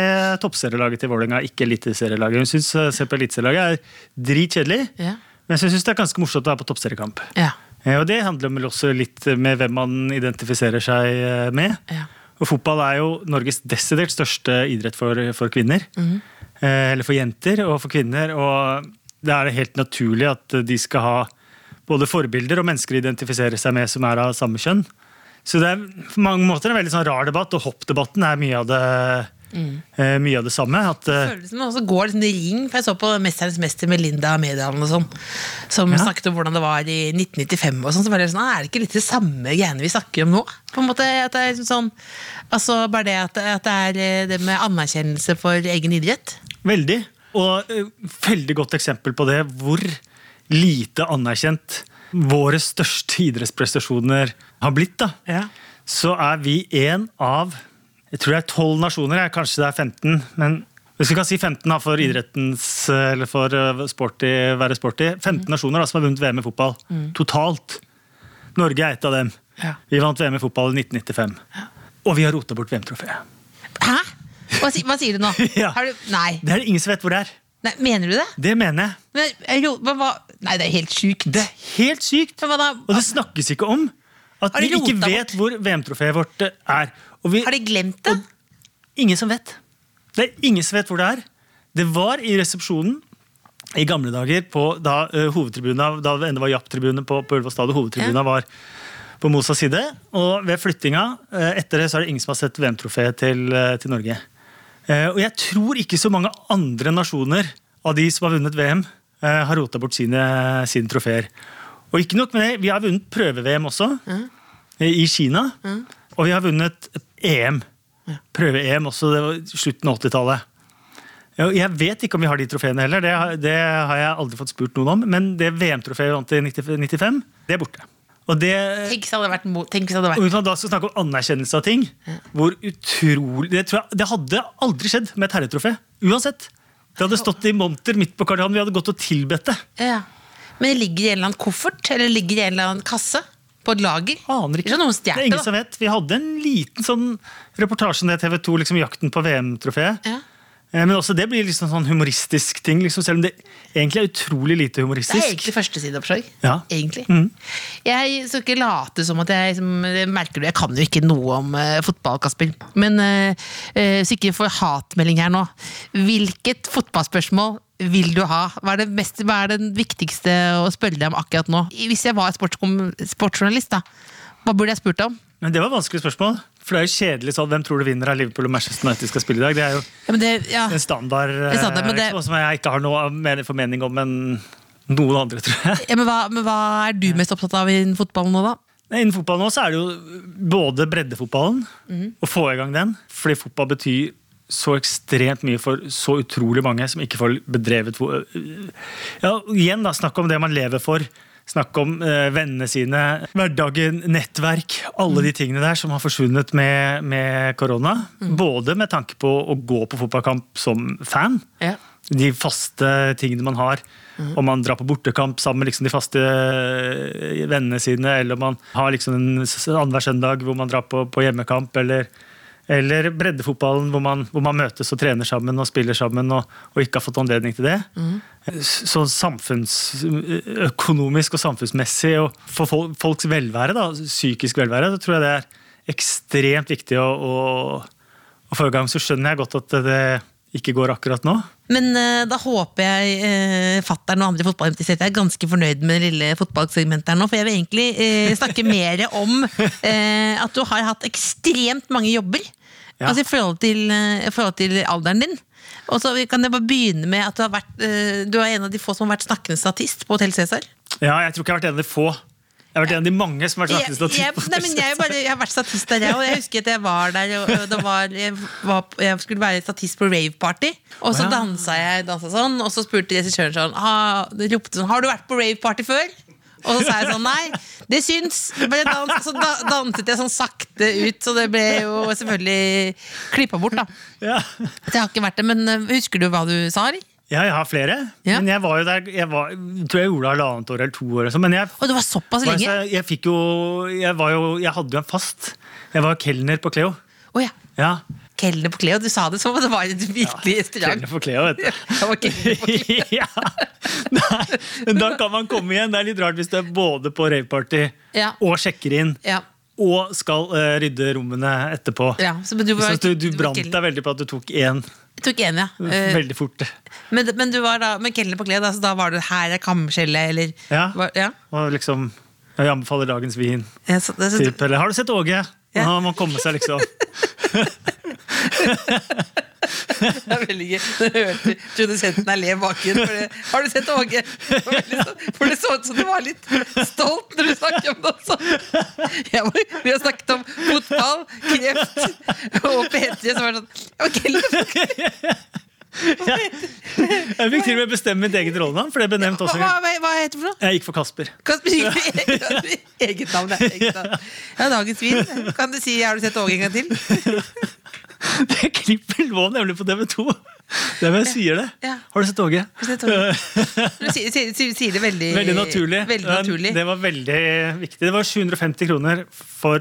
toppserielaget til Vålerenga, ikke eliteserielaget. Hun syns å se på eliteserielaget er dritkjedelig, Ja. men jeg syns det er ganske morsomt å være på toppseriekamp. Ja. Eh, Og det handler vel også litt med hvem man identifiserer seg eh, med. Ja. Og fotball er jo Norges desidert største idrett for, for kvinner. Eh, Eller for jenter og for kvinner. Og da er det helt naturlig at de skal ha både forbilder og mennesker å identifisere seg med som er av samme kjønn. Så det er på mange måter en veldig sånn rar debatt, og hoppdebatten er mye av det, eh, mye av det samme. At, eh, Følelsen også går liksom i ring, for jeg så på Mesterens mester med Linda Medalen og sånn, som Ja. snakket om hvordan det var i 1995 og sånn, så var det sånn, "Ah, er det ikke litt det samme greiene vi snakker om nå? På en måte, at det er liksom sånn, altså bare det at, at det er eh, det med anerkjennelse for egen idrett. Veldig. Og eh, veldig godt eksempel på det hvor lite anerkjent våre største idrettsprestasjoner har blitt. da. Ja. Så er vi én av jeg tror det er tolv nasjoner, jeg, kanskje det er 15. men hvis vi kan si 15 da, for idrettens, eh, eller for eh, sporty, være sporty 15 Mm. nasjoner da, som har vunnet VM i fotball totalt. Norge er et av dem. Ja. Vi vant VM i fotball i 1995. Og vi har rota bort VM-trofeet. Hæ? Hva, si, hva sier du nå? Ja. Har du, nei. Det er det ingen som vet hvor det er. nei, mener du det? Det mener jeg. Men, eh, ro- hva, hva, nei, det er helt sykt. Det er helt sykt! Men hva da? Og det snakkes ikke om at Har de vi ikke rota vet hvor VM-trofeet vårt eh, er. Og vi, Har de glemt det? ingen som vet. Det er ingen som vet hvor det er. Det var i resepsjonen i gamle dager på da eh, hovedtribunen, da det ennå var Japp-tribunen på, på Ullevål stadion, hovedtribunen var på Mosas side. Og ved flyttinga eh, etter det så er det ingen som har sett VM-trofeet til, eh, til Norge. Eh, Og jeg tror ikke så mange andre nasjoner av de som har vunnet VM, eh, har rota bort sine, sine trofeer. Og ikke nok med det, vi har vunnet prøve-VM også, eh, i Kina. Og vi har vunnet E EM. Prøve-EM også, det var slutten av 80-tallet. Ja, og Jeg vet ikke om vi har de trofeene heller, det har, det har jeg aldri fått spurt noen om. Men det VM-trofeet vi vant i 90 95, det er borte. Og det, Tenk hvis det hadde vært, mo- tenk hvis det hadde vært. og hvis man da skal snakke om anerkjennelse av ting hvor utrolig, det, tror jeg, det hadde aldri skjedd med et herretrofé. Uansett. Det hadde stått i monter midt på Karl Johan. Vi hadde gått og tilbedt det. Ja. Men det ligger i en eller annen koffert eller ligger i en eller annen kasse på et lager. Aner ikke. Ikke noen det er ingen stjerte, som da. vet. Vi hadde en liten sånn reportasje om det TV 2, liksom jakten på VM-trofeet. Ja. Eh, Men også det blir liksom sånn humoristisk ting, liksom, selv om det egentlig er utrolig lite Det er humoristisk. egentlig førstesideoppslag. Ja. Egentlig. Mm. Jeg skal ikke late som at jeg liksom, det merker du, jeg kan jo ikke noe om eh, fotball, Kasper. Men eh, eh, så ikke får hatmelding her nå. Hvilket fotballspørsmål vil du ha? Hva er det, mest, hva er det viktigste å spørre deg om akkurat nå? Hvis jeg var sportskom- sportsjournalist, da, hva burde jeg spurt om? Men det var et vanskelig spørsmål. For det er jo kjedelig sånn, hvem tror du vinner av Liverpool og Manchester United skal spille i dag? Det er jo Ja, men det, ja. en standard, eh, En standard, men det- liksom, som jeg ikke har noe men- formening om enn noen andre, tror jeg. Ja, men, hva, men hva er du mest opptatt av innen fotballen nå, da? Nei, Innen fotball nå så er det jo både breddefotballen, Mhm. å få i gang den, fordi fotball betyr så ekstremt mye for så utrolig mange som ikke får bedrevet fo- eh, Ja, og igjen da, snakk om det man lever for. Snakk om eh, vennene sine, hverdagen, nettverk. Alle Mhm. de tingene der som har forsvunnet med, med korona. Både med tanke på å gå på fotballkamp som fan, Ja. de faste tingene man har. Om man drar på bortekamp sammen med liksom de faste eh, vennene sine, eller om man har liksom en s- annenhver søndag hvor man drar på, på hjemmekamp, eller, eller breddefotballen hvor man, hvor man møtes og trener sammen og spiller sammen og, og ikke har fått anledning til det. S- Sånn samfunnsøkonomisk og samfunnsmessig, og for fol- folks velvære, da, psykisk velvære, så tror jeg det er ekstremt viktig å, å og forrige gang så skjønner jeg godt at det ikke går akkurat nå. Men eh, da håper jeg uh, fatter'n og andre fotballinteresserte er ganske fornøyd med det lille fotballsegmentet her nå, for jeg vil egentlig eh, snakke mer om eh, at du har hatt ekstremt mange jobber. Ja. Altså i forhold til, eh, i forhold til alderen din. Og så kan jeg bare begynne med at du, har vært, eh, du er en av de få som har vært snakkende statist på Hotell Cæsar. Ja, jeg tror ikke jeg har vært en av de få. Jeg har vært en av de mange som har vært jeg, statist. jeg, nei, men jeg, bare, jeg har vært statist der, jeg. Og jeg husker at jeg var der. Og, og det var, jeg, var, på- jeg skulle være statist på rave-party. Og så «Ah», Wow. dansa jeg dansa sånn, og så spurte regissøren sånn, ha, ropte sånn Har du vært på rave-party før? Og så sa jeg sånn nei, det syns. Bare dans, så da, danset jeg sånn sakte ut, så det ble jo selvfølgelig klippa bort, da. Ja. Det har ikke vært det, men øh, husker du hva du sa, eller? ja, jeg har flere. Ja. Men jeg var jo der jeg var, tror jeg gjorde det halvannet år eller to år. og sånn, Men jeg, Å, det var såpass var, lenge? så, jeg fikk jo jeg, var jo jeg hadde jo en fast. Jeg var kelner på Cleo. Å ja. Ja. Kelner på Cleo. Du sa det som om det var et virkelig restaurant. Kelner på Cleo, vet du. Jeg var kelner på Cleo. ja. Nei, men da kan man komme igjen. Det er litt rart hvis du er både på raveparty Ja. og sjekker inn. Ja. Og skal eh, rydde rommene etterpå. Ja, så men du var- Jeg synes du, du du var brant kelner. deg veldig på at du tok én Jeg tok en, ja. Eh, Mm, veldig fort. Men, men du var da med kelner på Cleo, da, så da var du her er kamskjellet, eller Ja. Var, ja. Og liksom Jeg anbefaler dagens vin. Ja, så, det, så, Typ. Eller har du sett Åge? Ja. Han må komme seg, liksom. Det er veldig gøy. Når jeg hørte produsenten her le i bakgrunnen. For det, har du sett Åge? Det var veldig sånn- For det så ut som du var litt stolt når du snakket om det også. Jeg var, vi har snakket om fotball, kreft og P3, som var sånn Ok, Jeg fikk til og med bestemme mitt eget rollenavn, for det ble nevnt hva, også. en hva, gang. hva heter det for noe? Jeg gikk for Kasper. Kasper Hyggelig. Eget navn, det er eget navn. Ja, dagens vin. Kan du si 'Har du sett Åge' en gang til? Det klippet lå nemlig på TV2. Det er hva jeg sier det. Ja. Har du sett Åge? du sett Du sier, sier, sier, sier det veldig Veldig naturlig. Veldig naturlig. Det var veldig viktig. Det var 750 kroner for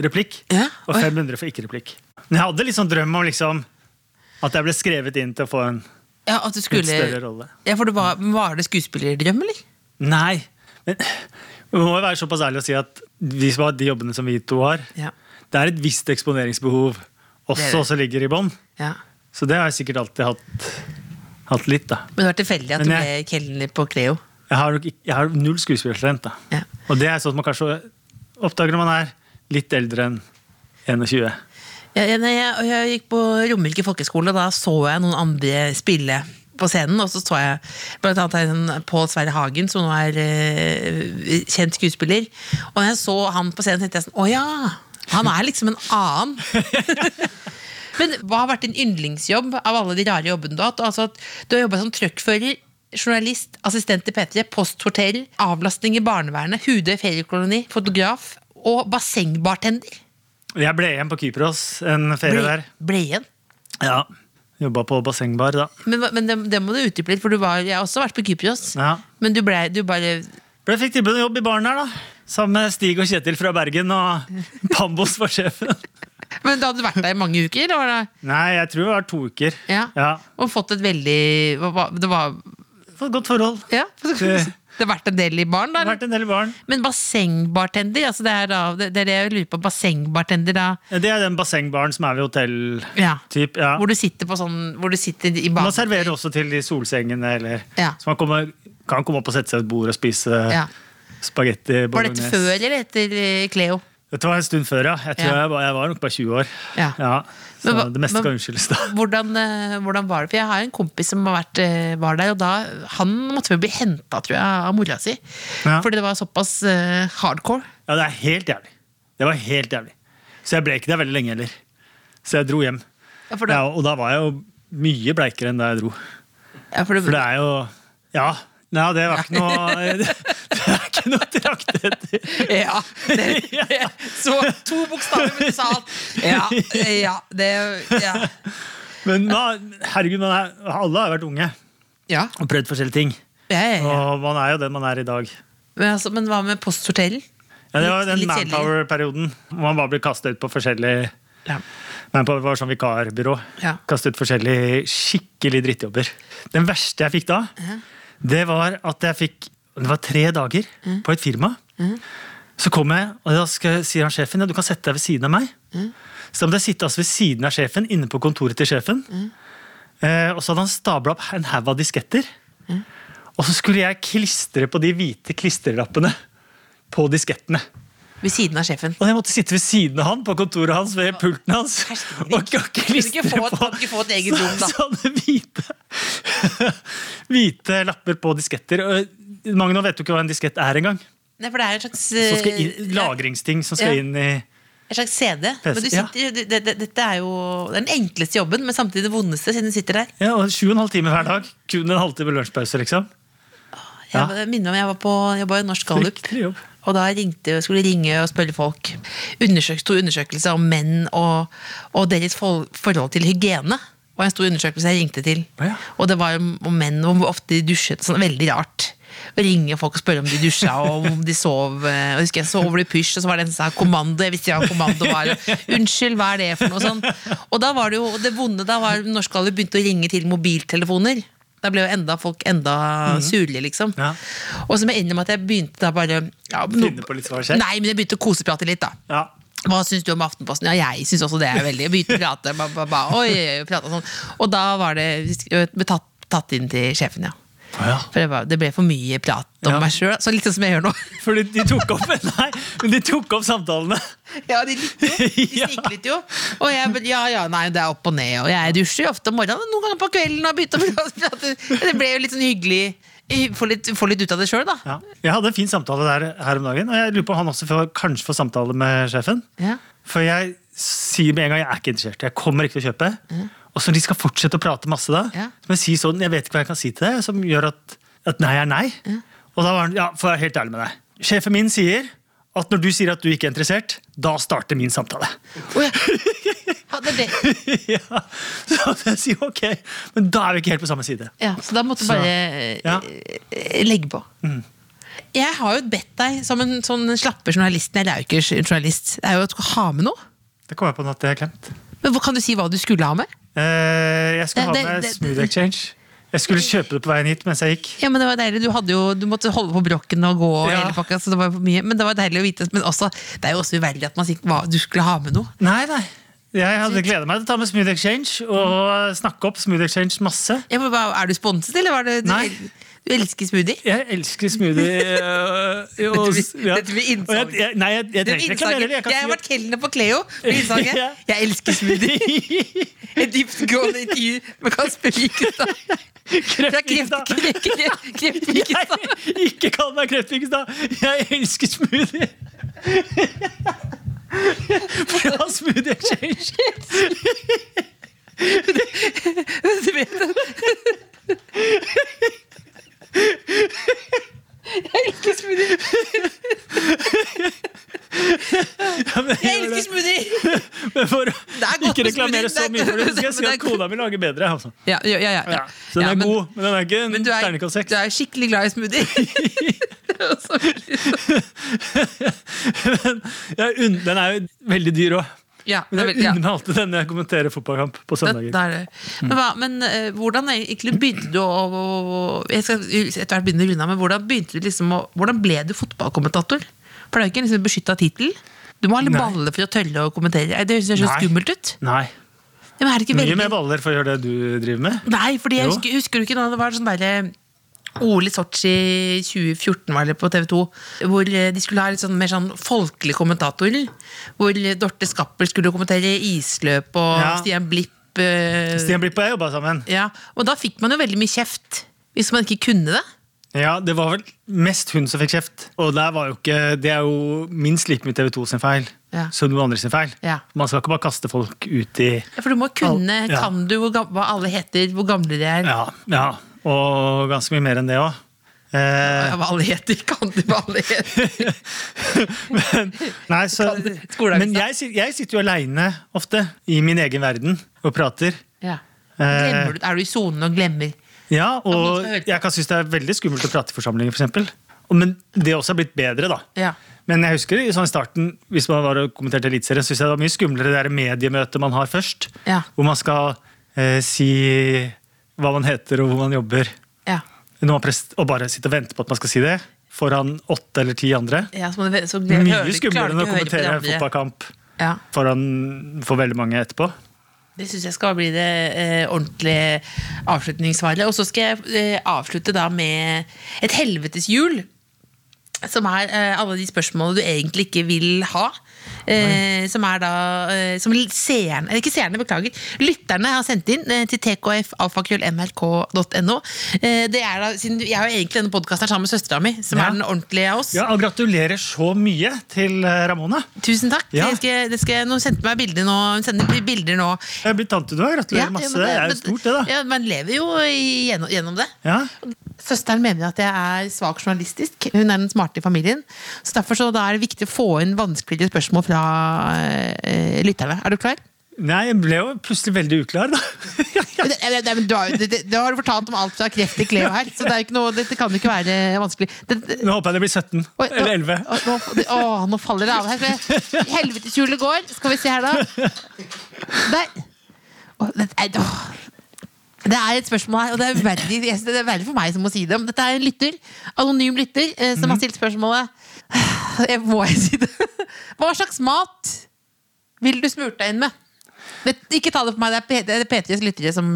replikk Ja, og oi. 500 for ikke-replikk. Men jeg hadde litt sånn drøm om liksom at jeg ble skrevet inn til å få en Ja, at du skulle større rolle. Ja, for det var, var det skuespillerdrøm, eller? Nei. Men vi må jo være såpass ærlig og si at de som har de jobbene som vi to har, Ja. det er et visst eksponeringsbehov Det er også det. som ligger i bånn. ja. Så det har jeg sikkert alltid hatt, hatt litt, da. Men det var tilfeldig at Men du ble jeg- kelner på Cleo. Jeg har, nok ikke- jeg har null skuespillertalent, da. Ja. Og det er sånn at man kanskje oppdager når man er litt eldre enn 21. Jeg, jeg, nei, jeg, jeg gikk på Romerike folkeskole, og da så jeg noen andre spille på scenen. Og så så jeg blant annet en Pål Sverre Hagen, som nå er eh, kjent skuespiller. Og når jeg så han på scenen, tenkte jeg sånn Å ja! Han er liksom en annen. Men hva har vært din yndlingsjobb av alle de rare jobbene du har hatt? Altså at du har jobba som truckfører, journalist, assistent i P3, postsorterer, avlastning i barnevernet, Hudøy feriekoloni, fotograf og bassengbartender. Jeg ble igjen på Kypros en ferie Ble, der. ble igjen. Ja, Jobba på bassengbar, da. Men, hva- men det, det må du utdype litt, for du var, jeg har også vært på Kypros. Ja. Men du ble, du bare Men jeg fikk tilbud om jobb i baren her, da. Sammen med Stig og Kjetil fra Bergen, og Pambos var sjefen. Men da hadde du vært der i mange uker? Eller? var det- Nei, jeg tror det var to uker. Ja. Ja. Og fått et veldig hva- hva- Det var Fått godt forhold. Ja. Det har vært en del i baren, da? eller? Vært en del i baren. Men bassengbartender, altså det er da Det det er det jeg lurer på. Bassengbartender, da. Det er den bassengbaren som er ved hotell. Ja. Typ, ja. Hvor du sitter på sånn Hvor du sitter i Man banen. serverer også til de solsengene, eller, Ja. så man kommer, kan komme opp og sette seg ved et bord og spise Ja. spagetti Var dette bolognese. før eller etter eh, Cleo? Dette var en stund før, ja. Jeg, tror Ja. jeg, var, jeg var nok bare 20 år. Ja. Så Men hva- det meste men- kan unnskyldes, da. Hvordan, eh, hvordan var det? For jeg har en kompis som har vært, eh, var der, og da, han måtte vel bli henta, tror jeg, av mora si. Ja. Fordi det var såpass eh, hardcore. Ja, det er helt jævlig. Det var helt jævlig. Så jeg ble ikke der veldig lenge heller. Så jeg dro hjem. Ja, for det- Ja, og da var jeg jo mye bleikere enn da jeg dro. Ja, for det, For det er jo Ja. Nei, det var ikke noe Det er ikke noe å trakte etter. ja, det, det, så to bokstaver, men du sa alt. Ja, eh, ja, det Ja. Men da, herregud, man er, alle har vært unge ja. og prøvd forskjellige ting. ja, ja, ja. Og man er jo den man er i dag. Men, altså, men hva med postsortering? Ja, det var Litt- den litt kjedelig. Manpower-perioden. hvor Man bare ble kasta ut på forskjellig Ja. Manpower var sånn vikarbyrå. Ja. Kastet ut forskjellige skikkelig drittjobber. Den verste jeg fikk da, det var at jeg fikk Det var tre dager på et firma. Så kom jeg, og da skal, sier han sjefen ja, du kan sette deg ved siden av meg. Så da måtte jeg sitte altså ved siden av sjefen, inne på kontoret til sjefen. Eh, og så hadde han stabla opp en haug av disketter. Og så skulle jeg klistre på de hvite klistrelappene på diskettene. Ved siden av sjefen. Og jeg måtte sitte ved siden av han på kontoret hans ved pulten hans. Herregud. Og ikke- og klistre Kan du ikke få et- på kan du ikke få et eget rom, da? så- sånne hvite, hvite lapper på disketter. Og Magna vet jo ikke hva en diskett er engang. Nei, for det er en slags Som skal eh, inn- Lagringsting som skal Ja. inn i En slags CD. Men du ja. sitter, det, det, dette er jo det er den enkleste jobben, men samtidig det vondeste, siden du sitter der. ja, og Sju og en halv time hver dag. Kun en halvtime lunsjpause, liksom. Ja. Jeg minner om jeg var på jobba i Norsk Gallup. Fryktelig jobb. Og da ringte, skulle ringe og spørre folk. Undersøk, stor undersøkelse om menn og, og deres for, forhold til hygiene. var en stor undersøkelse jeg ringte til. Å ja. Og det var jo om menn og hvor ofte de dusjet. sånn Veldig rart. Å ringe folk og spørre om de dusja og om de sov. eh, Og jeg husker jeg så over i pysj, og så var det en som sa kommando. Jeg visste ikke hva kommando var. Unnskyld, hva er det for noe sånt? Og da var det jo, og det vonde da var norske alle begynte å ringe til mobiltelefoner. Da ble jo enda folk enda surere, liksom. Mhm. Ja. Og så må jeg innrømme at jeg begynte da bare ja, Finne på litt svar selv? Nei, men jeg begynte å koseprate litt, da. Ja. Hva syns du om Aftenposten? Ja, jeg syns også det er veldig Jeg begynte å prate, ba, ba, ba, oi, oi, oi, prate og sånn. Og da var det jeg ble tatt, tatt inn til sjefen, ja. ja. For det, var, det ble for mye prat om Ja. meg sjøl, så litt sånn som jeg gjør nå. Fordi de tok opp Nei, men de tok opp samtalene. Ja, de likte jo. De Ja. sniklet jo. Og jeg bare, ja, ja, nei, det er opp og ned. Og jeg dusjer jo ofte om morgenen, og noen ganger på kvelden. Og begynte å prate. Det ble jo litt sånn hyggelig. Få litt, få litt ut av det sjøl, da. Ja. Jeg hadde en fin samtale der her om dagen, og jeg lurer på om han også får, kanskje får samtale med sjefen. Ja. For jeg sier med en gang jeg er ikke interessert, jeg kommer ikke til å kjøpe. Og så når de skal fortsette å prate masse da, Ja. så må jeg si sånn, jeg vet ikke hva jeg kan si til deg, som gjør at, at nei er nei. Og da var han, ja, for jeg er helt ærlig med deg. Sjefen min sier at når du sier at du ikke er interessert, da starter min samtale. Å, ja. Ja, det er det. ja. Så jeg sier ok, men da er vi ikke helt på samme side. Ja, så da måtte du Så- bare eh, ja. Mm. eh, legge på. Jeg har jo bedt deg, som en sånn slapper journalist Nei, det er jo ikke journalist. Det er jo at du skal ha med noe. Det kom jeg på nå at det er klemt. Men hva- Kan du si hva du skulle ha med? Eh, jeg skal Det- det- ha med det- Smooth Exchange. Jeg skulle kjøpe det på veien hit mens jeg gikk. Ja, men det var deilig. Du, hadde jo, du måtte holde på brokken og gå. og Ja. hele pakka, så det var for mye. Men det var deilig å vite. Men også, det er jo også uverdig at man sier hva du skulle ha med noe. Nei, nei. Jeg hadde gledet meg til å ta med Smooth Exchange og snakke opp Smooth Exchange masse. Jeg må bare, er du sponset, eller var det du, Nei. el- du elsker smoothie? Jeg elsker smoothie. øh, og- Dette blir- ja. dette blir innsalg. Og jeg- jeg- Nei, jeg, jeg Det trenger var ikke det heller. innslaget. Jeg Jeg har kan vært kelner på Cleo. med innslaget. Ja. Jeg elsker smoothie. Et dyptgående intervju med Kasper Wikestad. Fra kreft, Wikestad. kreft, kreft, kreft si Wikestad. Nei, Ikke kall meg Kreftbygstad! Jeg elsker smoothie! Fra Smoothie Exchange. Du vet det. Jeg elsker smoothie! Ja, men Jeg gjør elsker det. smoothie! Men for å er godt ikke med reklamere smoothie. Det så mye er- for det, så skal men jeg si det er- at kona mi lager bedre. Altså. Ja, ja, ja, ja, ja. Så den Ja, er men- god, men den er ikke en Men du er, terningkast seks. du er skikkelig glad i smoothie. Så Men jeg unn, den er jo veldig dyr òg. Ja, det Men er jeg veldig- ja. unner meg alltid den når jeg kommenterer fotballkamp på Det- søndager. det er det. Men, hva, men eh, hvordan egentlig begynte du å, å, å Jeg skal etter hvert begynne å runde av, men hvordan begynte du liksom å, Hvordan ble du fotballkommentator? For det er jo ikke en liksom beskytta tittel. Du må ha litt Nei. baller for å tørre å kommentere. Nei, Det høres jo så Nei. skummelt ut. Nei. Ja, men er det ikke Mye veldig... mer baller for å gjøre det du driver med. Nei, fordi jeg Jo. husker, husker du ikke da det var sånn derre Ole Sotsji 2014 var det på TV 2, hvor eh, de skulle ha litt sånn mer sånn folkelig kommentatorer. Hvor eh, Dorte Skappel skulle kommentere isløp, og Ja. Stian Blipp eh, Stian Blipp og jeg jobba sammen. Ja, og da fikk man jo veldig mye kjeft hvis man ikke kunne det. Ja, Det var vel mest hun som fikk kjeft. Og der var jo ikke, det er jo minst like mye TV 2 sin feil Ja. som noen andre sin feil. Ja. Man skal ikke bare kaste folk ut i Ja, For du må kunne, Al- ja. kan du hvor gam- hva alle heter, hvor gamle de er. Ja, ja. Og ganske mye mer enn det òg. Eh, Hva alle heter, kan du hva alle heter. men, nei, så, Kan- skoleavisa. men jeg, sit- jeg sitter jo aleine ofte i min egen verden og prater. Ja. Eh. Glemmer du, er du i sonen og glemmer? Ja, man og skal høre på. jeg kan synes det er veldig skummelt å prate i forsamlinger, for eksempel. Og- Men det også har blitt bedre, da. Ja. Men jeg husker i sånn i starten, hvis man var og kommenterte Eliteserien, synes jeg det var mye skumlere det der mediemøtet man har først. Ja. Hvor man skal eh, si hva man heter og hvor man jobber. Ja. Når man prest, og bare sitte og vente på at man skal si det foran åtte eller ti andre. ja så må du, så glem- hører Mye du- klarer skumlere du enn å ikke høre på de kommentere en andre. fotballkamp Ja. foran, for veldig mange etterpå. Det syns jeg skal bli det eh, ordentlige avslutningssvaret. Og så skal jeg eh, avslutte da med et helveteshjul. Som er eh, alle de spørsmålene du egentlig ikke vil ha. Eh, som er da eh, Som seerne eh, Ikke seerne, beklager. Lytterne har sendt inn eh, til tkfalfakrøllmrk.no. Eh, det er da, siden du- jeg har jo egentlig denne podkasten sammen med søstera mi, som Ja. er den ordentlige av oss. Ja, og gratulerer så mye til eh, Ramona. Tusen takk. Ja. Det skal, det skal, nå sendte meg bilder nå, hun sender bilder nå Jeg er blitt tante du har. Gratulerer masse. men det er jo men- stort, det, da. Ja, man lever jo i- gjennom, gjennom det. Ja. Søsteren mener at jeg er svak journalistisk. Hun er den smarte i familien. Så derfor så da er det viktig å få inn vanskeligere spørsmål fra eh, lytterne. Er du klar? Nei, jeg ble jo plutselig veldig uklar, da. Men det- det- det- men du har, det, det, det har du fortalt om alt fra kreft til kleo her, så det er jo ikke noe, dette kan jo ikke være vanskelig. Det, det, Nå håper jeg det blir 17. Oi, nå- Eller 11. Å, nå, det- å, nå faller det av her. for jeg- Helveteshjulet går. Skal vi se her, da. Der. Å, det, er, å. det er et spørsmål her, og det er verre, jeg synes det er verre for meg som må si det. Men dette er en lytter, anonym lytter eh, som har stilt spørsmålet. Jeg må jeg si det? Hva slags mat ville du smurt deg inn med? Det, ikke ta det på meg, det er P- det er P3s lyttere som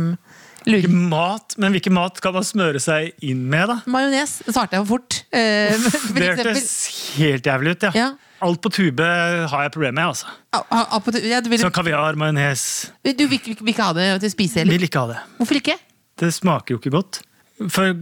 lurer. Mat, men hvilken mat kan man smøre seg inn med, da? Majones svarte jeg for fort. Eh, men for Det eksempel- hørtes helt jævlig ut, ja. Ja. Alt på tube har jeg problemer med, altså. Ah, ah, ah, på- ja, du ville- Sånn kaviar, majones Du vil, vil, vil ikke ha det til å spise heller? Vil ikke ha det. Hvorfor ikke? Det smaker jo ikke godt. For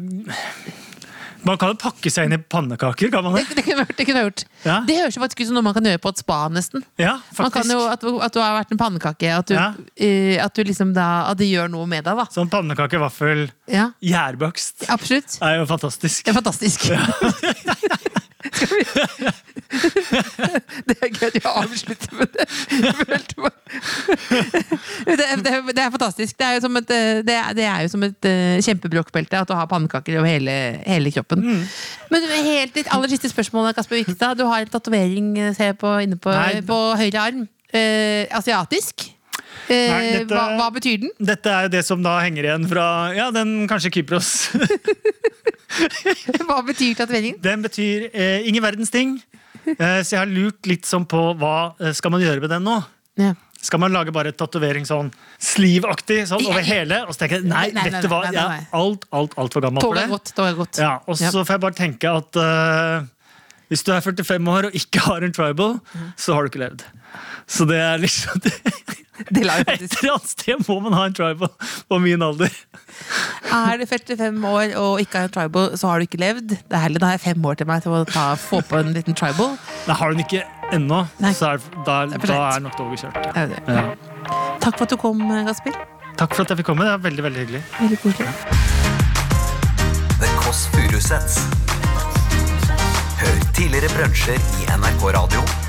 man kan jo pakke seg inn i pannekaker, kan man Det, det? det kunne jeg gjort. Det, kunne jeg gjort. Ja. det høres jo faktisk ut som noe man kan gjøre på et spa, nesten. Ja, Man faktisk. kan jo, at, du- at du har vært en pannekake, at, du, Ja. eh, at, du liksom da, at det gjør noe med deg. da Sånn pannekake, vaffel, ja. gjærbakst Absolutt. er jo fantastisk. Det er fantastisk. Skal vi Det er gøy at vi avslutter med det. Jeg følte meg- Det, er- det, er- det er fantastisk. Det er jo som et, eh, det er, det er jo som et eh, kjempebråkbelte at du har pannekaker over hele, hele kroppen. Mm. Men helt ditt aller siste spørsmål, Kasper Vikstad. Du har en tatovering eh, ser jeg på, inne på, Nei. på høyre arm. Eh, asiatisk. Eh, Nei, dette- hva, hva betyr den? Dette er jo det som da henger igjen fra ja, den kanskje Kypros. Hva betyr tatoveringen? Den betyr eh, ingen verdens ting. Eh, så jeg har lurt litt sånn på hva eh, skal man gjøre med den nå. Ja. Skal man lage bare tatovering sånn sleeve-aktig sånn Ja, over ja. hele? Og så tenker jeg nei, Nei, nei, vet du nei, hva, nei, nei, nei. jeg er alt, alt, altfor gammel for Toget det. er godt. Toget er godt. Ja, og så Ja. får jeg bare tenke at eh, hvis du er 45 år og ikke har en tribal, Mhm. så har du ikke levd. Så det er liksom det. Det la vi Et faktisk eller annet sted må man ha en tribal på min alder. Er du 45 år og ikke har en tribal, så har du ikke levd. Det er heller, Da har jeg fem år til meg til å ta, få på en liten tribal. Nei, har du den ikke ennå, Nei. så er, da, er for da sent. er nok toget kjørt. Det er jo det. Ja. Takk for at du kom, Gaspil. Takk for at jeg fikk komme. Det er veldig, veldig hyggelig. Veldig koselig. The Kåss Furuseths. Hør tidligere brunsjer i NRK Radio